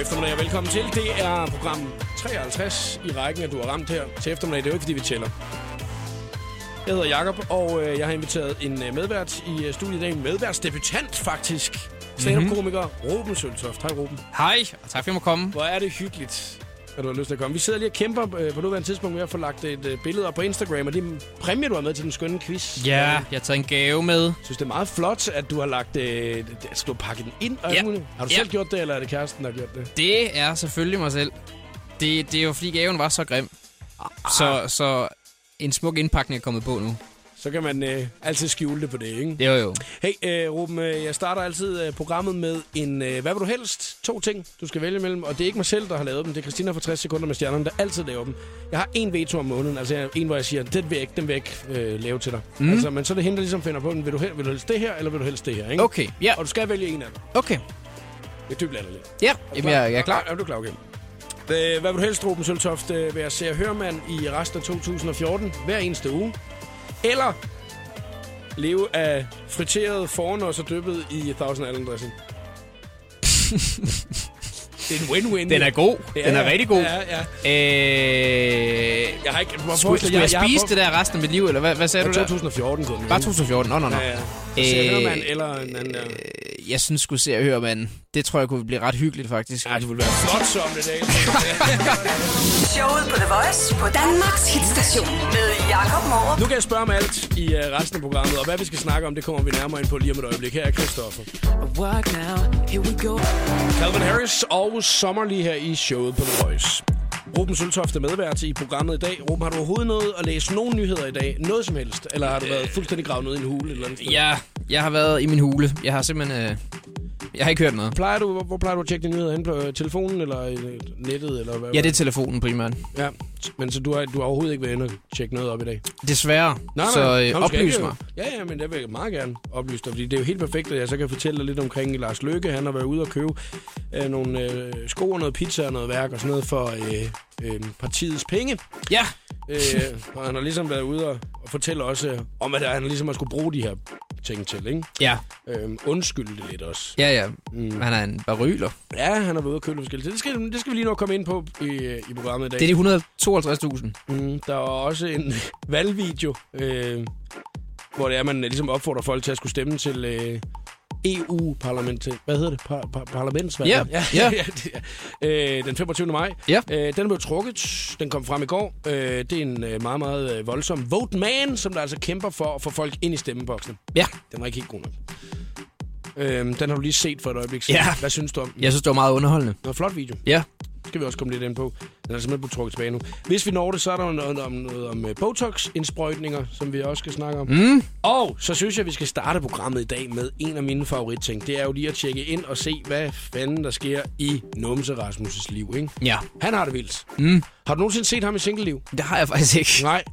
eftermiddag og velkommen til. Det er program 53 i rækken, at du har ramt her til eftermiddag. Det er jo ikke, fordi vi tæller. Jeg hedder Jakob og øh, jeg har inviteret en øh, medvært i øh, studiet i dag. En medværtsdebutant, faktisk. Stand-up-komiker Mhm. Ruben Søltoft. Hej, Ruben. Hej, og tak fordi jeg må komme. Hvor er det hyggeligt, at du har lyst til at komme. Vi sidder lige og kæmper øh, på nuværende tidspunkt med at få lagt et øh, billede op på Instagram, og det er en præmie, du har med til den skønne quiz. Ja, jeg har taget en gave med. Jeg synes, det er meget flot, at du har lagt øh, det- altså, du har pakket den ind. Og Ja. alt muligt. Har du Ja. selv gjort det, eller er det kæresten, der har gjort det? Det er selvfølgelig mig selv. Det, det er jo fordi gaven var så grim. Så, så en smuk indpakning er kommet på nu. Så kan man øh, altid skjule det på det, ikke? Det er jo. Hey, øh, Ruben, øh, jeg starter altid øh, programmet med en, øh, hvad vil du helst? To ting, du skal vælge imellem. Og det er ikke mig selv, der har lavet dem. Det er Christina fra 60 sekunder med stjernerne, der altid laver dem. Jeg har en veto om måneden, altså jeg- en, hvor jeg siger, den vil jeg ikke, den vil jeg ikke øh, lave til dig. Mm. Altså, men så er det hende, der ligesom finder på, den. vil du, hel- vil du helst det her, eller vil du helst det her, ikke? Okay, ja. Og du skal vælge en af dem. Okay. Det er dybt latterligt. Ja, jamen, jeg, jeg er Er, klar. er du klar, okay. Øh, Hvad vil du helst, Ruben Søltoft, øh, være ser hørmand i resten af 2014 hver eneste uge? Eller leve af friteret foran og så dyppet i 1000 Island dressing? det er en win-win. Den er god. Ja, Den er ja. rigtig god. Ja, ja. Øh, Jeg har ikke... Hvorfor, skulle, skulle jeg spise det der resten af mit liv, eller hvad, hvad sagde du der? der? 2014 kun. Bare 2014. Nå, nå, nå. Ja, ja. Ser Øh, hørmand eller en anden der. Øh, Jeg synes, skulle se og høre, manden. Det tror jeg kunne blive ret hyggeligt, faktisk. Ja, det ville være flot som det dag. Showet på The Voice på Danmarks hitstation med Jakob Morup. Nu kan jeg spørge om alt i øh, resten af programmet, og hvad vi skal snakke om, det kommer vi nærmere ind på lige om et øjeblik. Her er Christoffer. Work now, here we go. Calvin Harris og Sommer lige her i showet på The Voice. Ruben Søltoft er medvært i programmet i dag. Ruben, har du overhovedet noget at læse nogen nyheder i dag? Noget som helst? Eller har du været fuldstændig gravet ned i en hule? Eller andet sted? Øh. Ja, jeg har været i min hule. Jeg har simpelthen... Øh, jeg har ikke hørt noget. Plejer du, hvor, hvor plejer du at tjekke dine nyheder hen på øh, telefonen eller øh, nettet? Eller hvad? Ja, det er telefonen primært. ja. Men så du har, du har overhovedet ikke været inde og tjekke noget op i dag? Desværre. Nej, nej. så Nå, øh, du skal oplys ikke- mig. Ja, ja, men det vil jeg meget gerne oplyse dig, fordi det er jo helt perfekt, at jeg så kan fortælle dig lidt omkring Lars Løkke. Han har været ude og købe øh, nogle øh, sko og noget pizza og noget værk og sådan noget for øh, øh, partiets penge. Ja, Øh, og han har ligesom været ude og, og fortælle også øh, om, at han ligesom har skulle bruge de her ting til, ikke? ja, Øh, undskyld det lidt også. ja, ja. Mm. Han er en baryler. Ja, han har været ude og købe lidt forskellige ting. Det skal, det skal vi lige nå komme ind på i, øh, i programmet i dag. Det er de 152.000. Mm, der var også en valgvideo, øh, hvor det er, man ligesom opfordrer folk til at skulle stemme til øh, EU-parlamentet. Hvad hedder det? Par, par, parlamentsvalg? Ja, ja. det er- øh, den 25. maj. Ja. Øh, den blev trukket. Den kom frem i går. Øh, det er en øh, meget, meget øh, voldsom vote man, som der altså kæmper for at få folk ind i stemmeboksen. Ja, Den var ikke helt god nok. Øh, den har du lige set for et øjeblik siden. Ja. Hvad synes du om den? jeg synes, det var meget underholdende. Det var en flot video Ja, skal vi også komme lidt ind på. Den er simpelthen blevet trukket tilbage nu. Hvis vi når det, så er der jo noget om, noget om øh, Botox-indsprøjtninger, som vi også skal snakke om. Mm. Og så synes jeg, at vi skal starte programmet i dag med en af mine favoritting. Det er jo lige at tjekke ind og se, hvad fanden der sker i Numse Rasmus' liv. Ikke? ja. Han har det vildt. Mm. Har du nogensinde set ham i single-liv? Det har jeg faktisk ikke. Nej.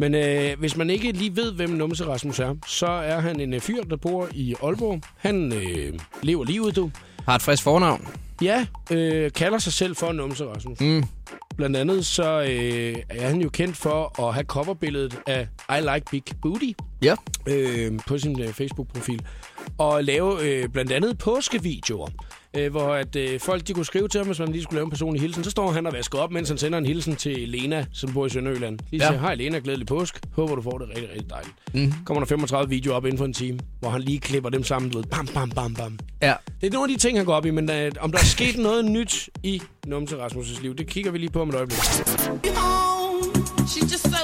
Men øh, hvis man ikke lige ved, hvem Numse Rasmus er, så er han en øh, fyr, der bor i Aalborg. Han øh, lever livet, du. Har et frisk fornavn. Ja, øh, kalder sig selv for Numse Rasmus. Mm. Blandt andet så øh, er han jo kendt for at have coverbilledet af I Like Big Booty Ja. øh, på sin øh, Facebook-profil. Og lave øh, blandt andet påskevideoer, øh, hvor at, øh, folk de kunne skrive til ham, hvis man lige skulle lave en personlig hilsen. Så står han og vasker op, mens han sender en hilsen til Lena, som bor i Sønderjylland. Lige Ja. ja. siger, hej Lena, glædelig påsk. Håber du får det rigtig, rigtig dejligt. Mm. Kommer der 35 videoer op inden for en time, hvor han lige klipper dem sammen. Du ved, bam, bam, bam, bam. Ja. Det er nogle af de ting, han går op i, men øh, om der er sket noget nyt i Numse Rasmus' liv, det kigger vi lige på om et øjeblik. She's just so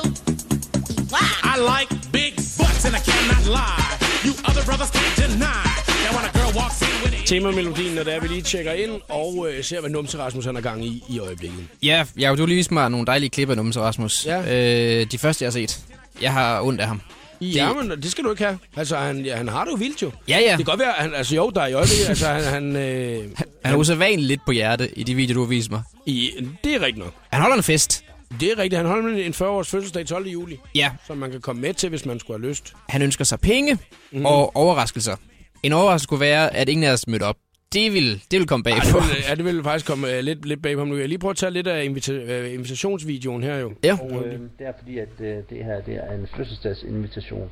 I like big butts and I cannot lie. You other brothers can't deny that when a girl walks in with it. Temamelodien, når det er, vi lige tjekker ind og øh, ser, hvad Numse Rasmus han er gang i i øjeblikket. Ja, ja du har lige vist mig nogle dejlige klip af Numse Rasmus. Ja. Øh, de første, jeg har set. Jeg har ondt af ham. Det... Jamen, det skal du ikke have. Altså, han, ja, han har det jo vildt jo. Ja, ja. Det kan godt være, han, altså jo, der er i øjeblikket, altså han, han øh, Han er usædvanligt lidt på hjerte i de videoer, du har vist mig. i, det er rigtigt nok. Han holder en fest. Det er rigtigt. Han holder nemlig en 40-års fødselsdag 12. juli, Ja, som man kan komme med til, hvis man skulle have lyst. han ønsker sig penge Mhm. mm. og overraskelser. En overraskelse kunne være, at ingen af os mødte op. Det vil, det vil komme bag Ej, det på. ville, ja, det ville faktisk komme uh, lidt, lidt bag på ham nu. Jeg lige prøver at tage lidt af invita- øh, invitationsvideoen her jo. Ja. Og, øh, Øh, det er fordi, at øh, det her det er en fødselsdagsinvitation.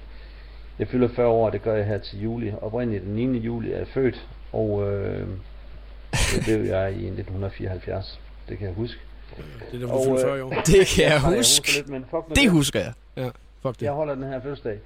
Jeg fylder 40 år, og det gør jeg her til juli. Oprindeligt den 9. juli er jeg født, og øh, Det blev jeg i 1974. Det kan jeg huske. Det er derfor, du Og, fylder øh, 40 i år. Det kan jeg huske. Nej, Jeg husker lidt, men fuck nu Det husker jeg. Ja, fuck det. Jeg holder den her fødselsdag,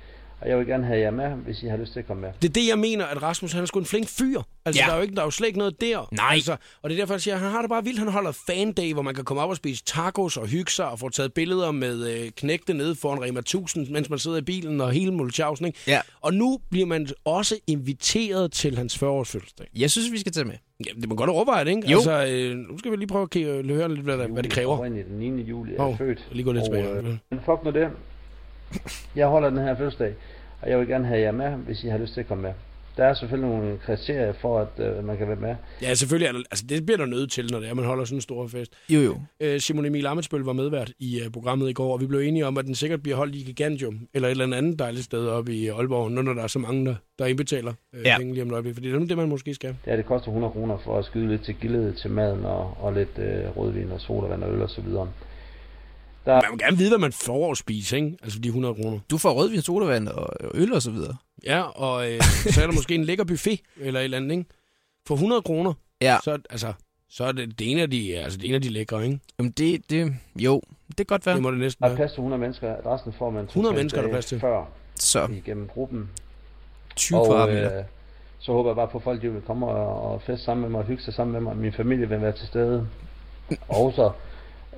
og jeg vil gerne have jer med, hvis I har lyst til at komme med. Det er det, jeg mener, at Rasmus, han er sgu en flink fyr. Altså, ja. Ja. der, er jo ikke, der er jo slet ikke noget der. Nej. Altså, og det er derfor, jeg siger, at han har det bare vildt. Han holder fandag, hvor man kan komme op og spise tacos og hygge sig og få taget billeder med øh, knægte nede foran Rema 1000, mens man sidder i bilen og hele Mulchausen, ikke? Ja. Og nu bliver man også inviteret til hans 40-års fødselsdag. Jeg synes, vi skal tage med. Jamen, det må godt overveje det, ikke? Jo. Altså, øh, nu skal vi lige prøve at kigge, høre lidt, hvad, der, hvad det kræver. Oprindeligt den 9. juli er Hov, jeg født. lige gå lidt og, tilbage. øh, Men fuck nu det. Jeg holder den her fødselsdag, og jeg vil gerne have jer med, hvis I har lyst til at komme med. Der er selvfølgelig nogle kriterier for, at øh, man kan være med. Ja, selvfølgelig. Er der, altså, det bliver der nødt til, når det er, man holder sådan en stor fest. Jo, jo. Øh, Simon Emil Amitsbøl var medvært i øh, programmet i går, og vi blev enige om, at den sikkert bliver holdt i Gigantium, eller et eller andet dejligt sted oppe i Aalborg, nu når der er så mange, der, der indbetaler øh, ja. Ja. penge lige om et øjeblik. Fordi det er det, man måske skal. Ja, det koster 100 kroner for at skyde lidt til gildet til maden og, og lidt øh, rødvin og sodavand og øl og så videre. Man vil gerne vide, hvad man får at spise, ikke? Altså for de 100 kroner. Du får rødvin, sodavand og og øl og så videre. Ja, og øh, så er der måske en lækker buffet, eller et eller andet, ikke? For 100 kroner, Ja, så, altså, så er det, det, ene af de, altså, det ene af de lækre, ikke? Jamen, det, det, jo, det kan godt Det være. må det næsten Der er være. plads til 100 mennesker. Adressen får man 100 to-tre mennesker er der dage plads til. Før Så igennem gruppen. 20 kvadratmeter. øh, så håber jeg bare på, at folk de vil komme og, og feste sammen med mig og hygge sig sammen med mig. Min familie vil være til stede. Og så...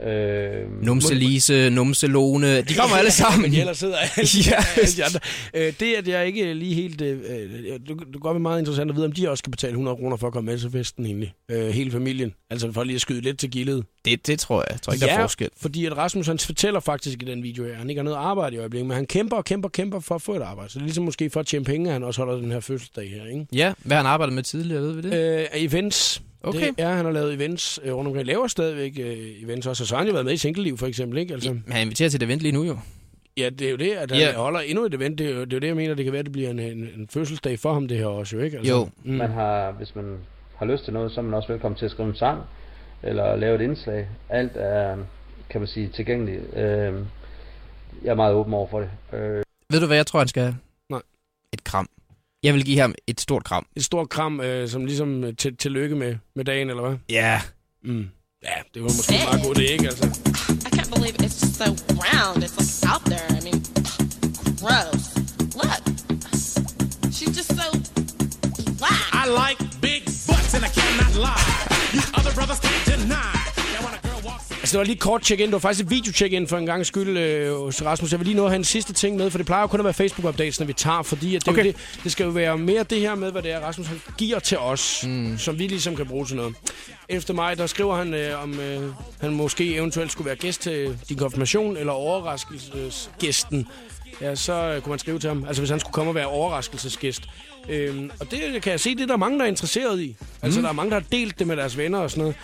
Øh, Numse Lise, Numse Lone, de kommer alle sammen. Men ellers sidder alle, Ja. alle de andre. Øh, det, at jeg ikke lige helt... Øh, øh, det det gør mig meget interessant at vide, om de også skal betale 100 kroner for at komme med til festen egentlig. Øh, hele familien. Altså for lige at skyde lidt til gildet. Det, det tror jeg. Jeg tror ikke, der er forskel. fordi at Rasmus han fortæller faktisk i den video her, han ikke har noget arbejde i øjeblikket, men han kæmper og kæmper og kæmper for at få et arbejde. Så det er ligesom måske for at tjene penge, at han også holder den her fødselsdag her, ikke? Ja, hvad han arbejdede med tidligere, ved vi det? Øh, events. Mm. Okay. Det er, han har lavet events øh, rundt omkring. Laver stadigvæk øh, events også. Og så har han jo været med i singleliv, for eksempel, ikke? Altså, Men han inviterer til et event lige nu jo. Ja, det er jo det, at han Ja. holder endnu et event. Det er, jo, det er jo det, jeg mener, det kan være, det bliver en, en, en fødselsdag for ham, det her også, jo ikke? Jo. Mm. man har, hvis man har lyst til noget, så er man også velkommen til at skrive en sang, eller lave et indslag. Alt er, kan man sige, tilgængeligt. Øh, jeg er meget åben over for det. Øh, Ved du, hvad jeg tror, han skal have? Nej. Et kram. Jeg vil give ham et stort kram. Et stort kram, øh, som ligesom øh, til, tillykke med, med dagen, eller hvad? Ja. Mm. Ja, det var måske en meget godt, det ikke, altså. I can't believe it's just so round. It's like out there. I mean, gross. Look, she's just so black. I like big butts and I cannot lie. You other brothers can't deny. Now when a girl walks in. Altså, det var lige et kort check-in. Det var faktisk et video-check-in for en gang skyld øh, hos Rasmus. Jeg vil lige nå at have en sidste ting med, for det plejer jo kun at være Facebook-updates, når vi tager, fordi at det, okay. Okay. det, det skal jo være mere det her med, hvad det er, Rasmus han giver til os, mm. som vi ligesom kan bruge til noget. Efter mig, der skriver han, øh, om øh, han måske eventuelt skulle være gæst til din konfirmation, eller overraskelsesgæsten. Ja, så øh, kunne man skrive til ham, altså hvis han skulle komme og være overraskelsesgæst. Øhm, og det kan jeg se, det er der mange, der er interesseret i. Altså, der er mange, der har delt det med deres venner og sådan noget.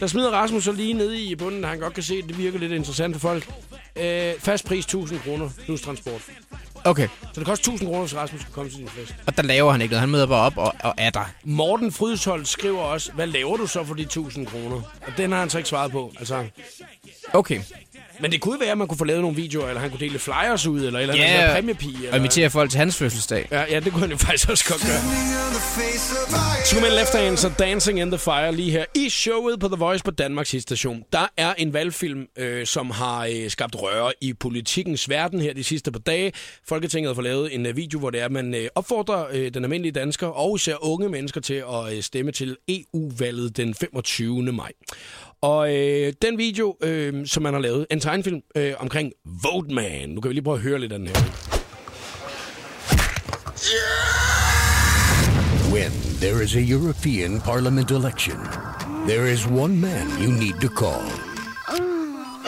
Der smider Rasmus så lige nede i bunden, han godt kan se, at det virker lidt interessant for folk. Øh, fast pris 1000 kroner plus transport. Okay. Så det koster 1000 kroner, hvis Rasmus skal komme til din fest. Og der laver han ikke noget. Han møder bare op og, og er der. Morten Frydsholt skriver også, hvad laver du så for de 1000 kroner? Og den har han så ikke svaret på. Altså, Okay. men det kunne være, at man kunne få lavet nogle videoer, eller han kunne dele flyers ud, eller et eller andet Ja. yeah. eller præmiepige. Eller... Og inviterer folk til hans fødselsdag. Ja, ja, det kunne han jo faktisk også godt gøre. Two Men Left Hands og Dancing in the Fire lige her i showet på The Voice på Danmarks station. Der er en valgfilm, øh, som har øh, skabt røre i politikens verden her de sidste par dage. Folketinget har fået lavet en øh, video, hvor det er, at man øh, opfordrer øh, den almindelige dansker og især unge mennesker til at øh, stemme til EU-valget den 25. maj. Og øh, den video, øh, som man har lavet, en tegnefilm øh, omkring Vote Man. Nu kan vi lige prøve at høre lidt af den her. When there is a European Parliament election, there is one man you need to call.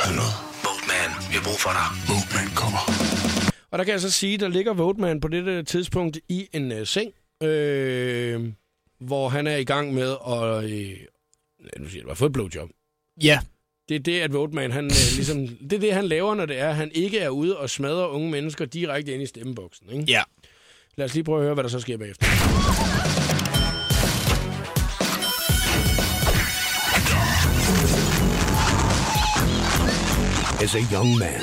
Hallo, Boatman. Vi har brug for dig. Boatman kommer. Og der kan jeg så sige, der ligger Voteman på dette tidspunkt i en øh, seng, øh, hvor han er i gang med at... Øh, ja, nu siger jeg, bare få et blowjob. Ja. Det er det, at Voteman, han, øh, ligesom, det er det, han laver, når det er, at han ikke er ude og smadrer unge mennesker direkte ind i stemmeboksen. Ikke? Ja. Lad os lige prøve at høre, hvad der så sker bagefter. As a young man,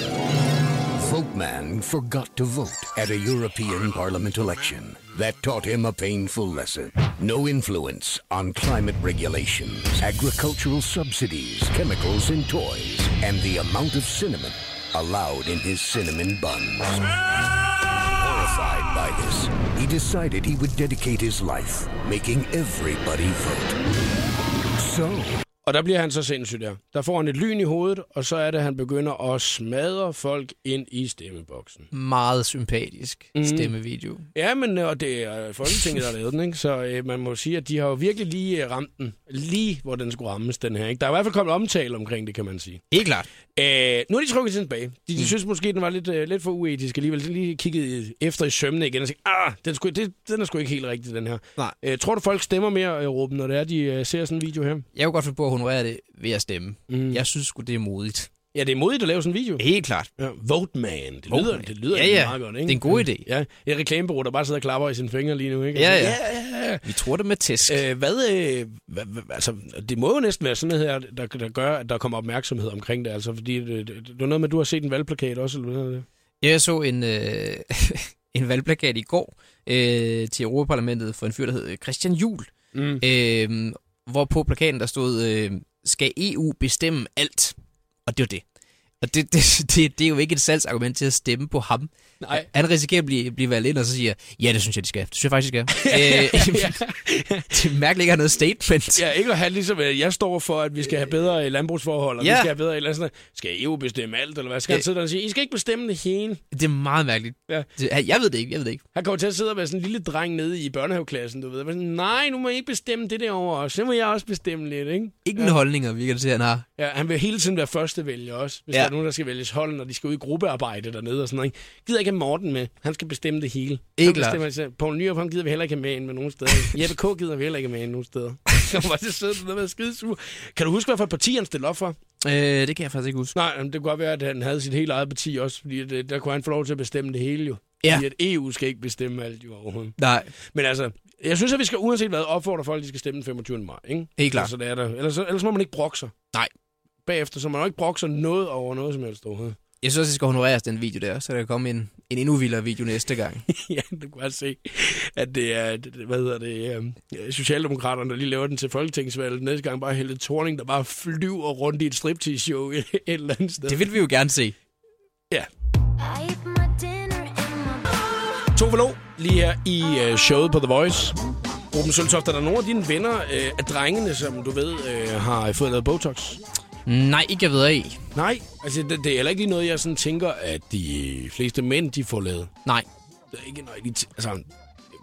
Folkman forgot to vote at a European Parliament election. That taught him a painful lesson. No influence on climate regulations, agricultural subsidies, chemicals in toys, and the amount of cinnamon allowed in his cinnamon buns. Horrified by this, he decided he would dedicate his life making everybody vote. So, Og der bliver han så sindssyg der. Der får han et lyn i hovedet, og så er det, at han begynder at smadre folk ind i stemmeboksen. Meget sympatisk mm. stemmevideo. Ja, men øh, og det er Folketinget, der har lavet den, ikke? så øh, man må sige, at de har jo virkelig lige øh, ramt den. Lige hvor den skulle rammes, den her. Ikke? Der er i hvert fald kommet omtale omkring det, kan man sige. Helt klart. Øh, nu er de trukket den tilbage. De, de mm. synes måske, den var lidt, øh, lidt for uetisk alligevel. De lige kigget i- efter i sømne igen og tænkte, ah, den, skulle, det, den er sgu ikke helt rigtig, den her. Nej. Øh, tror du, folk stemmer mere, øh, Ruben, når det er, de øh, ser sådan en video her? Jeg kunne godt finde på at honorere det ved at stemme. Mm. Jeg synes sgu, det er modigt. Ja, det er modigt at lave sådan en video. Helt klart. Ja, vote man. Det Vote lyder, man. Det lyder Ja, egentlig ja. meget godt, ikke? Det er en god idé. Ja, et reklamebureau, der bare sidder og klapper i sine fingre lige nu, ikke? Ja, Altså, ja. ja, ja. Vi tror det med tæsk. Øh, hvad, øh, hvad, hvad, altså, det må jo næsten være sådan noget her, der, der gør, at der kommer opmærksomhed omkring det, altså, fordi det, det, det var noget med, at du har set en valgplakat også, eller hvad er det? Ja, Jeg så en, øh, en valgplakat i går øh, til Europaparlamentet for en fyr, der hed Christian Juhl. Mm. Øh, hvor på plakaten der stod, øh, skal EU bestemme alt? Og det var det. Og det, det, det, det er jo ikke et salgsargument til at stemme på ham. Nej. Han risikerer at blive, blive valgt ind, og så siger ja, det synes jeg, de skal. Det synes jeg faktisk, de skal. øh, det er mærkeligt ikke at have noget statement. Ja, ikke at have ligesom, øh, jeg står for, at vi skal have bedre øh, landbrugsforhold, og Ja. vi skal have bedre, eller sådan noget. Skal EU bestemme alt, eller hvad? Skal han Øh. sidde der og sige, I skal ikke bestemme det hele? Det er meget mærkeligt. Ja. Det, jeg ved det ikke, jeg ved det ikke. Han kommer til at sidde og være sådan en lille dreng nede i børnehaveklassen, du ved. Og være Sådan, Nej, nu må I ikke bestemme det der over os. Så må jeg også bestemme lidt, ikke? Ingen ja. holdninger, virker det til, han har. Ja, han vil hele tiden være første vælger også, hvis ja. Ja. der er nogen, der skal vælges hold, når de skal ud i gruppearbejde dernede og sådan noget. Ikke? Gider ikke have Morten med. Han skal bestemme det hele. Ikke han klart. bestemmer selv. Poul Nyrup, ham gider vi heller ikke have med ind med nogen steder. Jeppe K. gider vi heller ikke have med ind nogen steder. Så var det sødt, det var skidesur. Kan du huske, hvad for et parti han stillede op for? Øh, det kan jeg faktisk ikke huske. Nej, jamen, det kunne godt være, at han havde sit helt eget parti også, fordi det, der kunne han få lov til at bestemme det hele jo. Ja. Fordi at EU skal ikke bestemme alt jo overhovedet. Nej. Men altså, jeg synes, at vi skal uanset hvad opfordre folk, at de skal stemme den 25. maj. Ikke? Helt klart. Altså, det er der. Ellers, så- ellers må man ikke brokke sig. Nej. Bagefter, så må man jo ikke brokke sig noget over noget som helst overhovedet. Jeg synes også, det skal honoreres, den video der, så der kan komme en, en endnu vildere video næste gang. ja, du kan godt se, at det er, det- det- hvad hedder det, øhm, Socialdemokraterne, der lige laver den til Folketingsvalget. Næste gang bare Helle Thorning, der bare flyver rundt i et striptease-show et eller andet sted. Det vil vi jo gerne se. Ja. To forlov lige her i øh, showet på The Voice. Ruben Søltoft, er der nogle af dine venner øh, af drengene, som du ved øh, har fået lavet Botox? Nej, ikke jeg ved af. Nej, altså det, det er heller ikke lige noget, jeg sådan tænker, at de fleste mænd, de får lavet. Nej. Det er ikke noget, jeg lige tæ- altså, jeg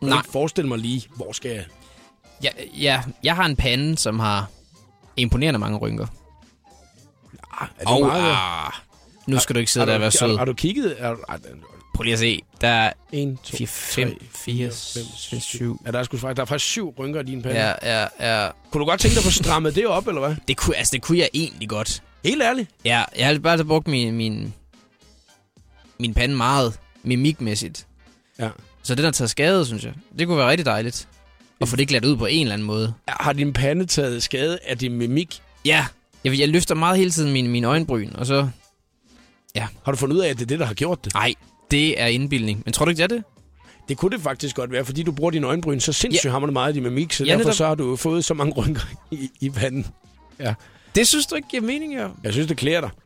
kan Nej. ikke forestille mig lige, hvor skal jeg... Ja, ja, jeg har en pande, som har imponerende mange rynker. Ah, er det Og meget- ah, nu skal du ikke sidde har, der du, og være har, sød. har du kigget? Er, er, Prøv lige at se. Der er 1, 2, 4, 5, 4, 6, 7. Ja, der er, sgu, faktisk- der er faktisk syv rynker i din pande. Ja, ja, ja. Kunne du godt tænke dig at få strammet det op, eller hvad? Det kunne, altså, det kunne jeg egentlig godt. Helt ærligt. Ja, jeg har bare brugt min, min, min pande meget mimikmæssigt. Ja. Så den har taget skade, synes jeg. Det kunne være rigtig dejligt. At få det glat ud på en eller anden måde. Har din pande taget skade af din mimik? Ja, jeg, jeg løfter meget hele tiden min, min øjenbryn, og så... Har du fundet ud af, at det er det, der har gjort det? Nej, det er indbildning. Men tror du ikke, det er det? Det kunne det faktisk godt være, fordi du bruger dine øjenbryn så sindssygt ja. hammerende meget i din mimik, så Ja, ja, derfor netop. så har du jo fået så mange rynker i, i panden. Det synes du ikke giver mening, jo. Jeg synes, det klæder dig. Det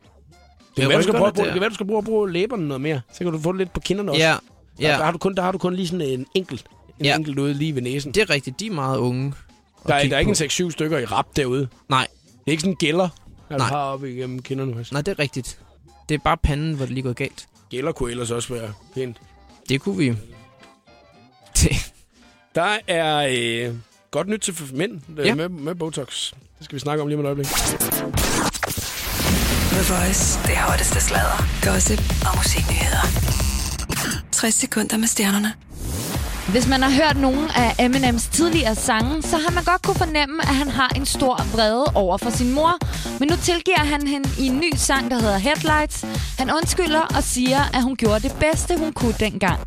Jeg kan være, du rykker skal prøve at lidt bruge, der. det kan være, du skal prøve at bruge læberne noget mere. Så kan du få det lidt på kinderne også. Ja, Der, der, ja. har du kun, der har du kun lige sådan en enkelt, en Ja. ja. enkelt ude lige ved næsen. Det er rigtigt. De er meget unge. at Der er, kigge der er ikke på. en 6-7 stykker i rap derude. Nej, Det er ikke sådan en gælder, der Nej. har oppe igennem kinderne. faktisk. nej, det er rigtigt. Det er bare panden, hvor det lige går galt. Gælder kunne ellers også være pænt. Det kunne vi... Det, Der er øh, godt nyt til f- mænd øh, Ja. med, med Botox. Det skal vi snakke om lige om et øjeblik. The Voice. Det hotteste sladder, gossip og musiknyheder. 60 sekunder med stjernerne. Hvis man har hørt nogle af Eminems tidligere sange, så har man godt kunne fornemme, at han har en stor vrede over for sin mor. Men nu tilgiver han hende i en ny sang, der hedder Headlights. Han undskylder og siger, at hun gjorde det bedste, hun kunne dengang.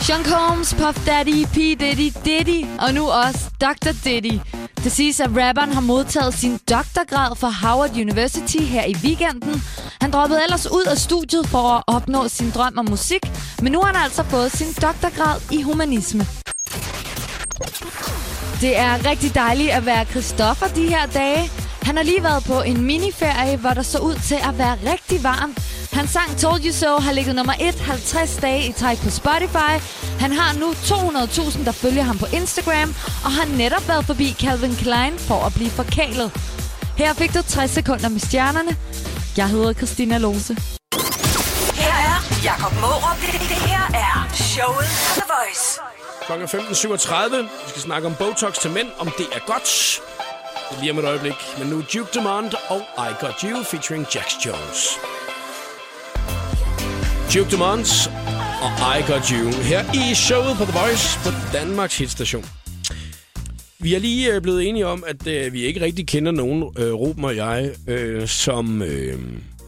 Sean Combs, Puff Daddy, P. Diddy, Diddy og nu også Dr. Diddy. Det siges, at rapperen har modtaget sin doktorgrad fra Howard University her i weekenden. Han droppede ellers ud af studiet for at opnå sin drøm om musik, men nu har han altså fået sin doktorgrad i humanisme. Det er rigtig dejligt at være Christoffer de her dage. Han har lige været på en miniferie, hvor der så ud til at være rigtig varmt. Hans sang Told You So har ligget nummer 1 50 dage i træk på Spotify. Han har nu 200.000, der følger ham på Instagram, og har netop været forbi Calvin Klein for at blive forkælet. Her fik du 60 sekunder med stjernerne. Jeg hedder Christina Lose. Her er Jakob Morup. Det, det, det her er showet på The Voice. Klokken er 15.37. Vi skal snakke om Botox til mænd, om det er godt. Det er lige om et øjeblik. Men nu Duke Demand og I Got You featuring Jax Jones. Duke Demand og I Got You her i showet på The Voice på Danmarks hitstation. Vi er lige øh, blevet enige om, at øh, vi ikke rigtig kender nogen, øh, Ruben og jeg, øh, som øh,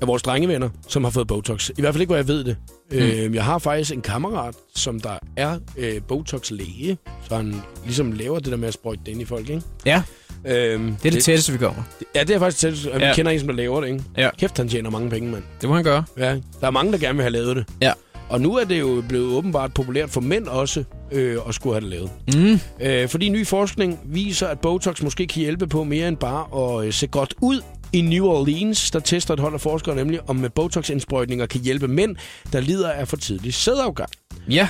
er vores drengevenner, som har fået Botox. I hvert fald ikke, hvor jeg ved det. Hmm. Mm. Øh, jeg har faktisk en kammerat, som der er øh, Botox-læge, så han ligesom laver det der med at sprøjte det ind i folk, ikke? Ja, Øh, det er det, tætteste, vi kommer. Ja, det er faktisk tæt. Vi ja. Ja. kender en, som der laver det, ikke? Ja. Kæft, han tjener mange penge, mand. Det må han gøre. Ja. Der er mange, der gerne vil have lavet det. Ja. Og nu er det jo blevet åbenbart populært for mænd også øh, at skulle have det lavet. Mm. Øh, fordi ny forskning viser, at Botox måske kan hjælpe på mere end bare at øh, se godt ud. I New Orleans, der tester et hold af forskere nemlig, om med Botox-indsprøjtninger kan hjælpe mænd, der lider af for tidlig sædafgang. Ja.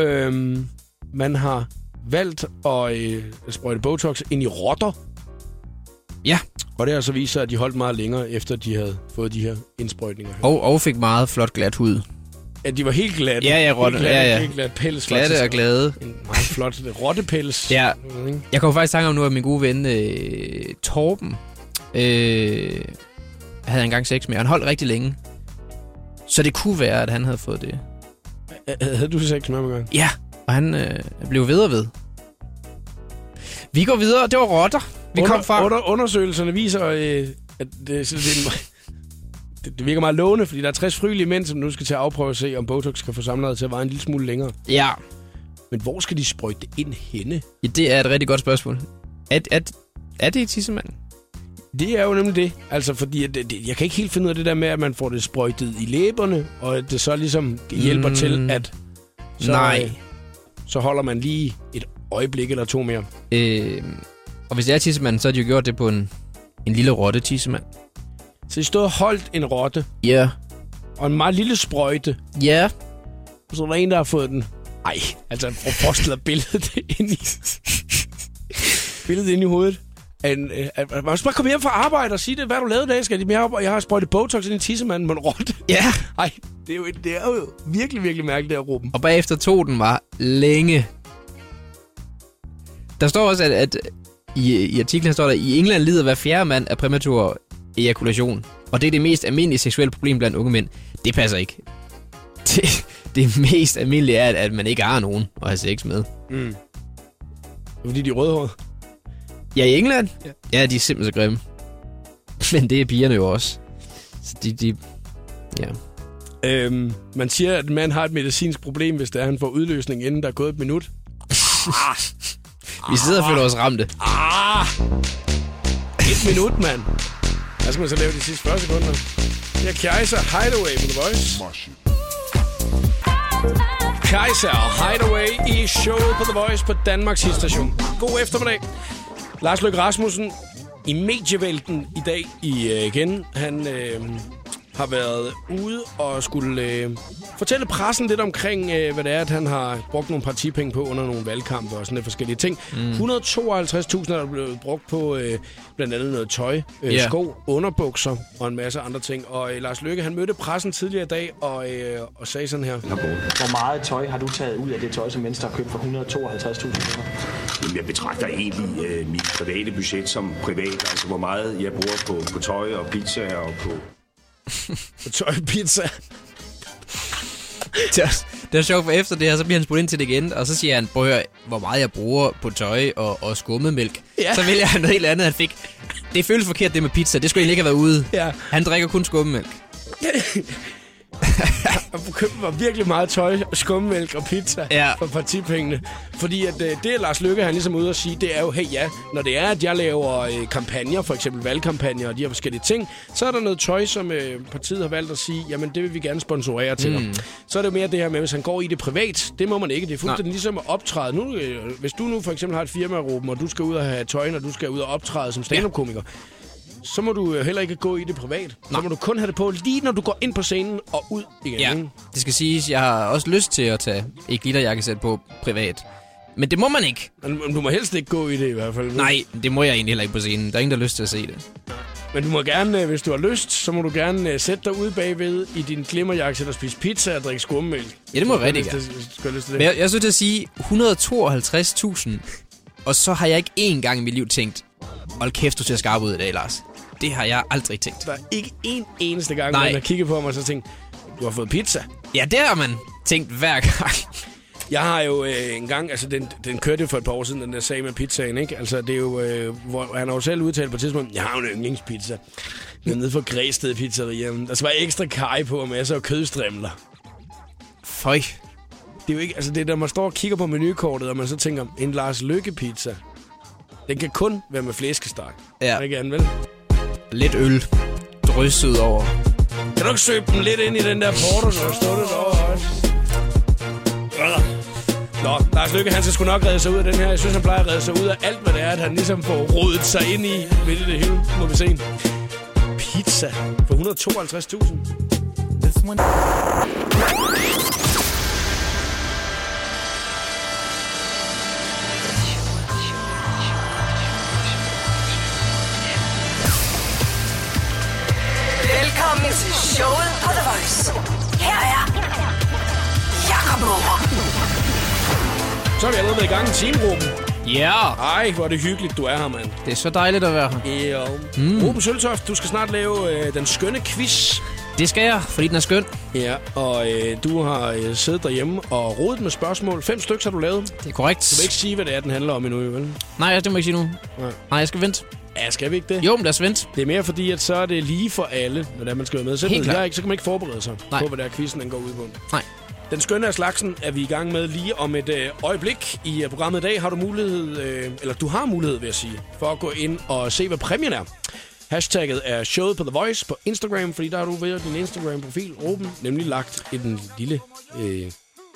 Øhm, man har valgt at øh, sprøjte Botox ind i rotter. Ja. Og det har så vist sig, at de holdt meget længere, efter de havde fået de her indsprøjtninger. her. Og, og fik meget flot glat hud. At de var helt glatte. Ja, ja, Helt rotter. glatte, Ja, ja. Helt glat pels. Glatte faktisk. og glade. En meget flot øh, rottepels. Ja. Jeg ved ikke. Jeg kommer faktisk i tanke om nu, at min gode ven øh, Torben øh, havde engang sex med, og han holdt rigtig længe. Så det kunne være, at han havde fået det. Øh, Havde du sex med ham engang? Ja, og han øh, blev ved og ved. Vi går videre, det var rotter. Vi under, kom fra... Under, undersøgelserne viser, øh, at det, så det, er en- det, det virker meget lovende, fordi der er 60 frivillige mænd, som nu skal til at afprøve at se, om Botox kan få samlet til at vare en lille smule længere. Ja. Men hvor skal de sprøjte det ind henne? ja, det er et rigtig godt spørgsmål. Er, er, er det i tissemanden? Det er jo nemlig det. Altså, fordi at det, det, jeg kan ikke helt finde ud af det der med, at man får det sprøjtet i læberne, og at det så ligesom hjælper mm. Mm. til, at så, Nej. øh, så holder man lige et øjeblik eller to mere. Øh, og hvis det er tissemanden, så har de jo gjort det på en, en lille rotte tissemand. Så I stod og holdt en rotte Ja. og en meget lille sprøjte, Ja. og så er der en, der har fået den. Ej, altså, prøv at forestille dig billedet ind i... billedet ind i hovedet. En, øh, at- at- man skal bare komme hjem fra arbejde og sige det, hvad har du lavede i dag, skal de mere op, og jeg har sprøjtet Botox ind i tissemanden med en rotte. Ja. Ej, det er jo, det er jo virkelig, virkelig mærkeligt, det her, Ruben. Og bagefter tog den var længe. Der står også, at, at i, i artiklen står der, i England lider hver fjerde mand af præmatur ejakulation. Og det er det mest almindelige seksuelle problem blandt unge mænd. Det passer ikke. Det, det mest almindelige er, at, at man ikke har nogen at have sex med. Fordi de er rødhårede. Ja, i England? Ja, ja de er simpelthen så grimme. Men det er pigerne jo også. Så de, de ja. Øhm, man siger, at en mand har et medicinsk problem, hvis det er, han får udløsning, inden der er gået et minut. Vi sidder og føler os ramte. Ah. Et minut, mand! Hvad skal man så lave de sidste 40 sekunder? Det er Kaiser Hideaway på The Voice. Kaiser Hideaway i showet på The Voice på Danmarks station. God eftermiddag. Lars Løkke Rasmussen i medievælten i dag i, øh, igen. Han øh, har været ude og skulle øh, fortælle pressen lidt omkring, øh, hvad det er, at han har brugt nogle partipenge på under nogle valgkampe og sådan lidt forskellige ting. Mm. 152.000 er der blevet brugt på øh, blandt andet noget tøj, øh, Ja. sko, underbukser og en masse andre ting. Og øh, Lars Løkke, han mødte pressen tidligere i dag og, øh, og sagde sådan her. Hvor meget tøj har du taget ud af det tøj, som Venstre har købt for 152.000 kroner? Jamen, jeg betragter egentlig øh, mit private budget som privat. Altså, hvor meget jeg bruger på, på tøj og pizza og på... På tøj, pizza. det, er, det er sjovt, for efter det her, så bliver han spurgt ind til det igen, og så siger han, prøv at høre, hvor meget jeg bruger på tøj og, og skummet mælk. Ja. Ja. Så vælger han noget helt andet, han fik. Det føles forkert, det med pizza. Det skulle egentlig ikke have været ude. Ja. Han drikker kun skummemælk. og købte mig virkelig meget tøj, skummælk og pizza ja. for partipengene. Fordi at, øh, det er Lars Lykke, han ligesom er ude og sige, det er jo, hey ja, når det er, at jeg laver øh, kampagner, for eksempel valgkampagner og de her forskellige ting, så er der noget tøj, som øh, partiet har valgt at sige, jamen det vil vi gerne sponsorere til mm. Mm. Så er det jo mere det her med, hvis han går i det privat, det må man ikke. Det er fuldstændig Nej. ligesom at optræde. Nu, øh, hvis du nu for eksempel har et firma, Ruben, og du skal ud og have tøj, når du skal ud og optræde som stand-up-komiker, så må du øh, heller ikke gå i det privat. Nej. Så må du kun have det på lige når du går ind på scenen og ud igen. Ja, det skal siges, jeg har også lyst til at tage et glitterjakkesæt på privat. Men det må man ikke. Men du må helst ikke gå i det i hvert fald. Nej, det må jeg egentlig heller ikke på scenen. Der er ingen, der har lyst til at se det. Men du må gerne, øh, hvis du har lyst, så må du gerne øh, sætte dig ude bagved i din glimmerjakke og spise pizza og drikke skummemælk. Ja, det må jeg Hvis du rigtig har lyst til- Hvis du har lyst til Men jeg, det. jeg er så til at sige 152.000, og så har jeg ikke én gang i mit liv tænkt, hold kæft, du ser skarp ud i dag, Lars. Det har jeg aldrig tænkt. Der er ikke én eneste gang, Nej. man har kigget på mig og så tænkt, du har fået pizza. Ja, det har man tænkt hver gang. Jeg har jo øh, en gang, altså den, den kørte jo for et par år siden, den der sag med pizzaen, ikke? Altså det er jo, øh, hvor, han har jo selv udtalt på et tidspunkt, jeg har jo en yndlingspizza. Den er nede fra Græsted Pizzeria. Der skal være ekstra kaj på, og masser af kødstrimler. Føj. Det er jo ikke, altså det er, når man står og kigger på menukortet, og man så tænker, en Lars Lykke pizza. Den kan kun være med flæskesteg. Ja. Ikke andet, vel? Lidt øl drysset over. Kan du ikke søbe den lidt ind i den der porto, når du står det derovre også? Øh. Nå, Lars Lykke, han skal sgu nok redde sig ud af den her. Jeg synes, han plejer at redde sig ud af alt, hvad det er, at han ligesom får rodet sig ind i midt i det hele. Nu Må vi se. Pizza for 152.000. This one. Velkommen til showet på The Voice. Her er Jakob Møller. Så er vi allerede været i gang i teamgruppen. Ja. Yeah. Ej, hvor er det hyggeligt, du er her, mand. Det er så dejligt at være her. Ja. Mm. Mm. Ruben Søltoft, du skal snart lave øh, den skønne quiz. Det skal jeg, fordi den er skøn. Ja, og øh, du har øh, siddet derhjemme og rodet med spørgsmål. Fem stykker har du lavet. Det er korrekt. Du vil ikke sige, hvad det er, den handler om endnu, vel? Nej, det må jeg ikke sige nu. Nej. Nej, jeg skal vente. Ja, skal vi ikke det? Jo, men lad os vente. Det er mere fordi, at så er det lige for alle, hvordan man skal være med. Selv Helt hvis klart. jeg ikke, så kan man ikke forberede sig Nej. Nej. på, hvad der quizzen den går ud på. Nej. Den skønne af slagsen er vi i gang med lige om et øh, øjeblik. I øh, programmet i dag har du mulighed, øh, eller du har mulighed, vil jeg sige, for at gå ind og se, hvad præmien er. Hashtagget er showet på The Voice på Instagram, fordi der har du ved din Instagram-profil, Ruben, nemlig lagt en lille øh,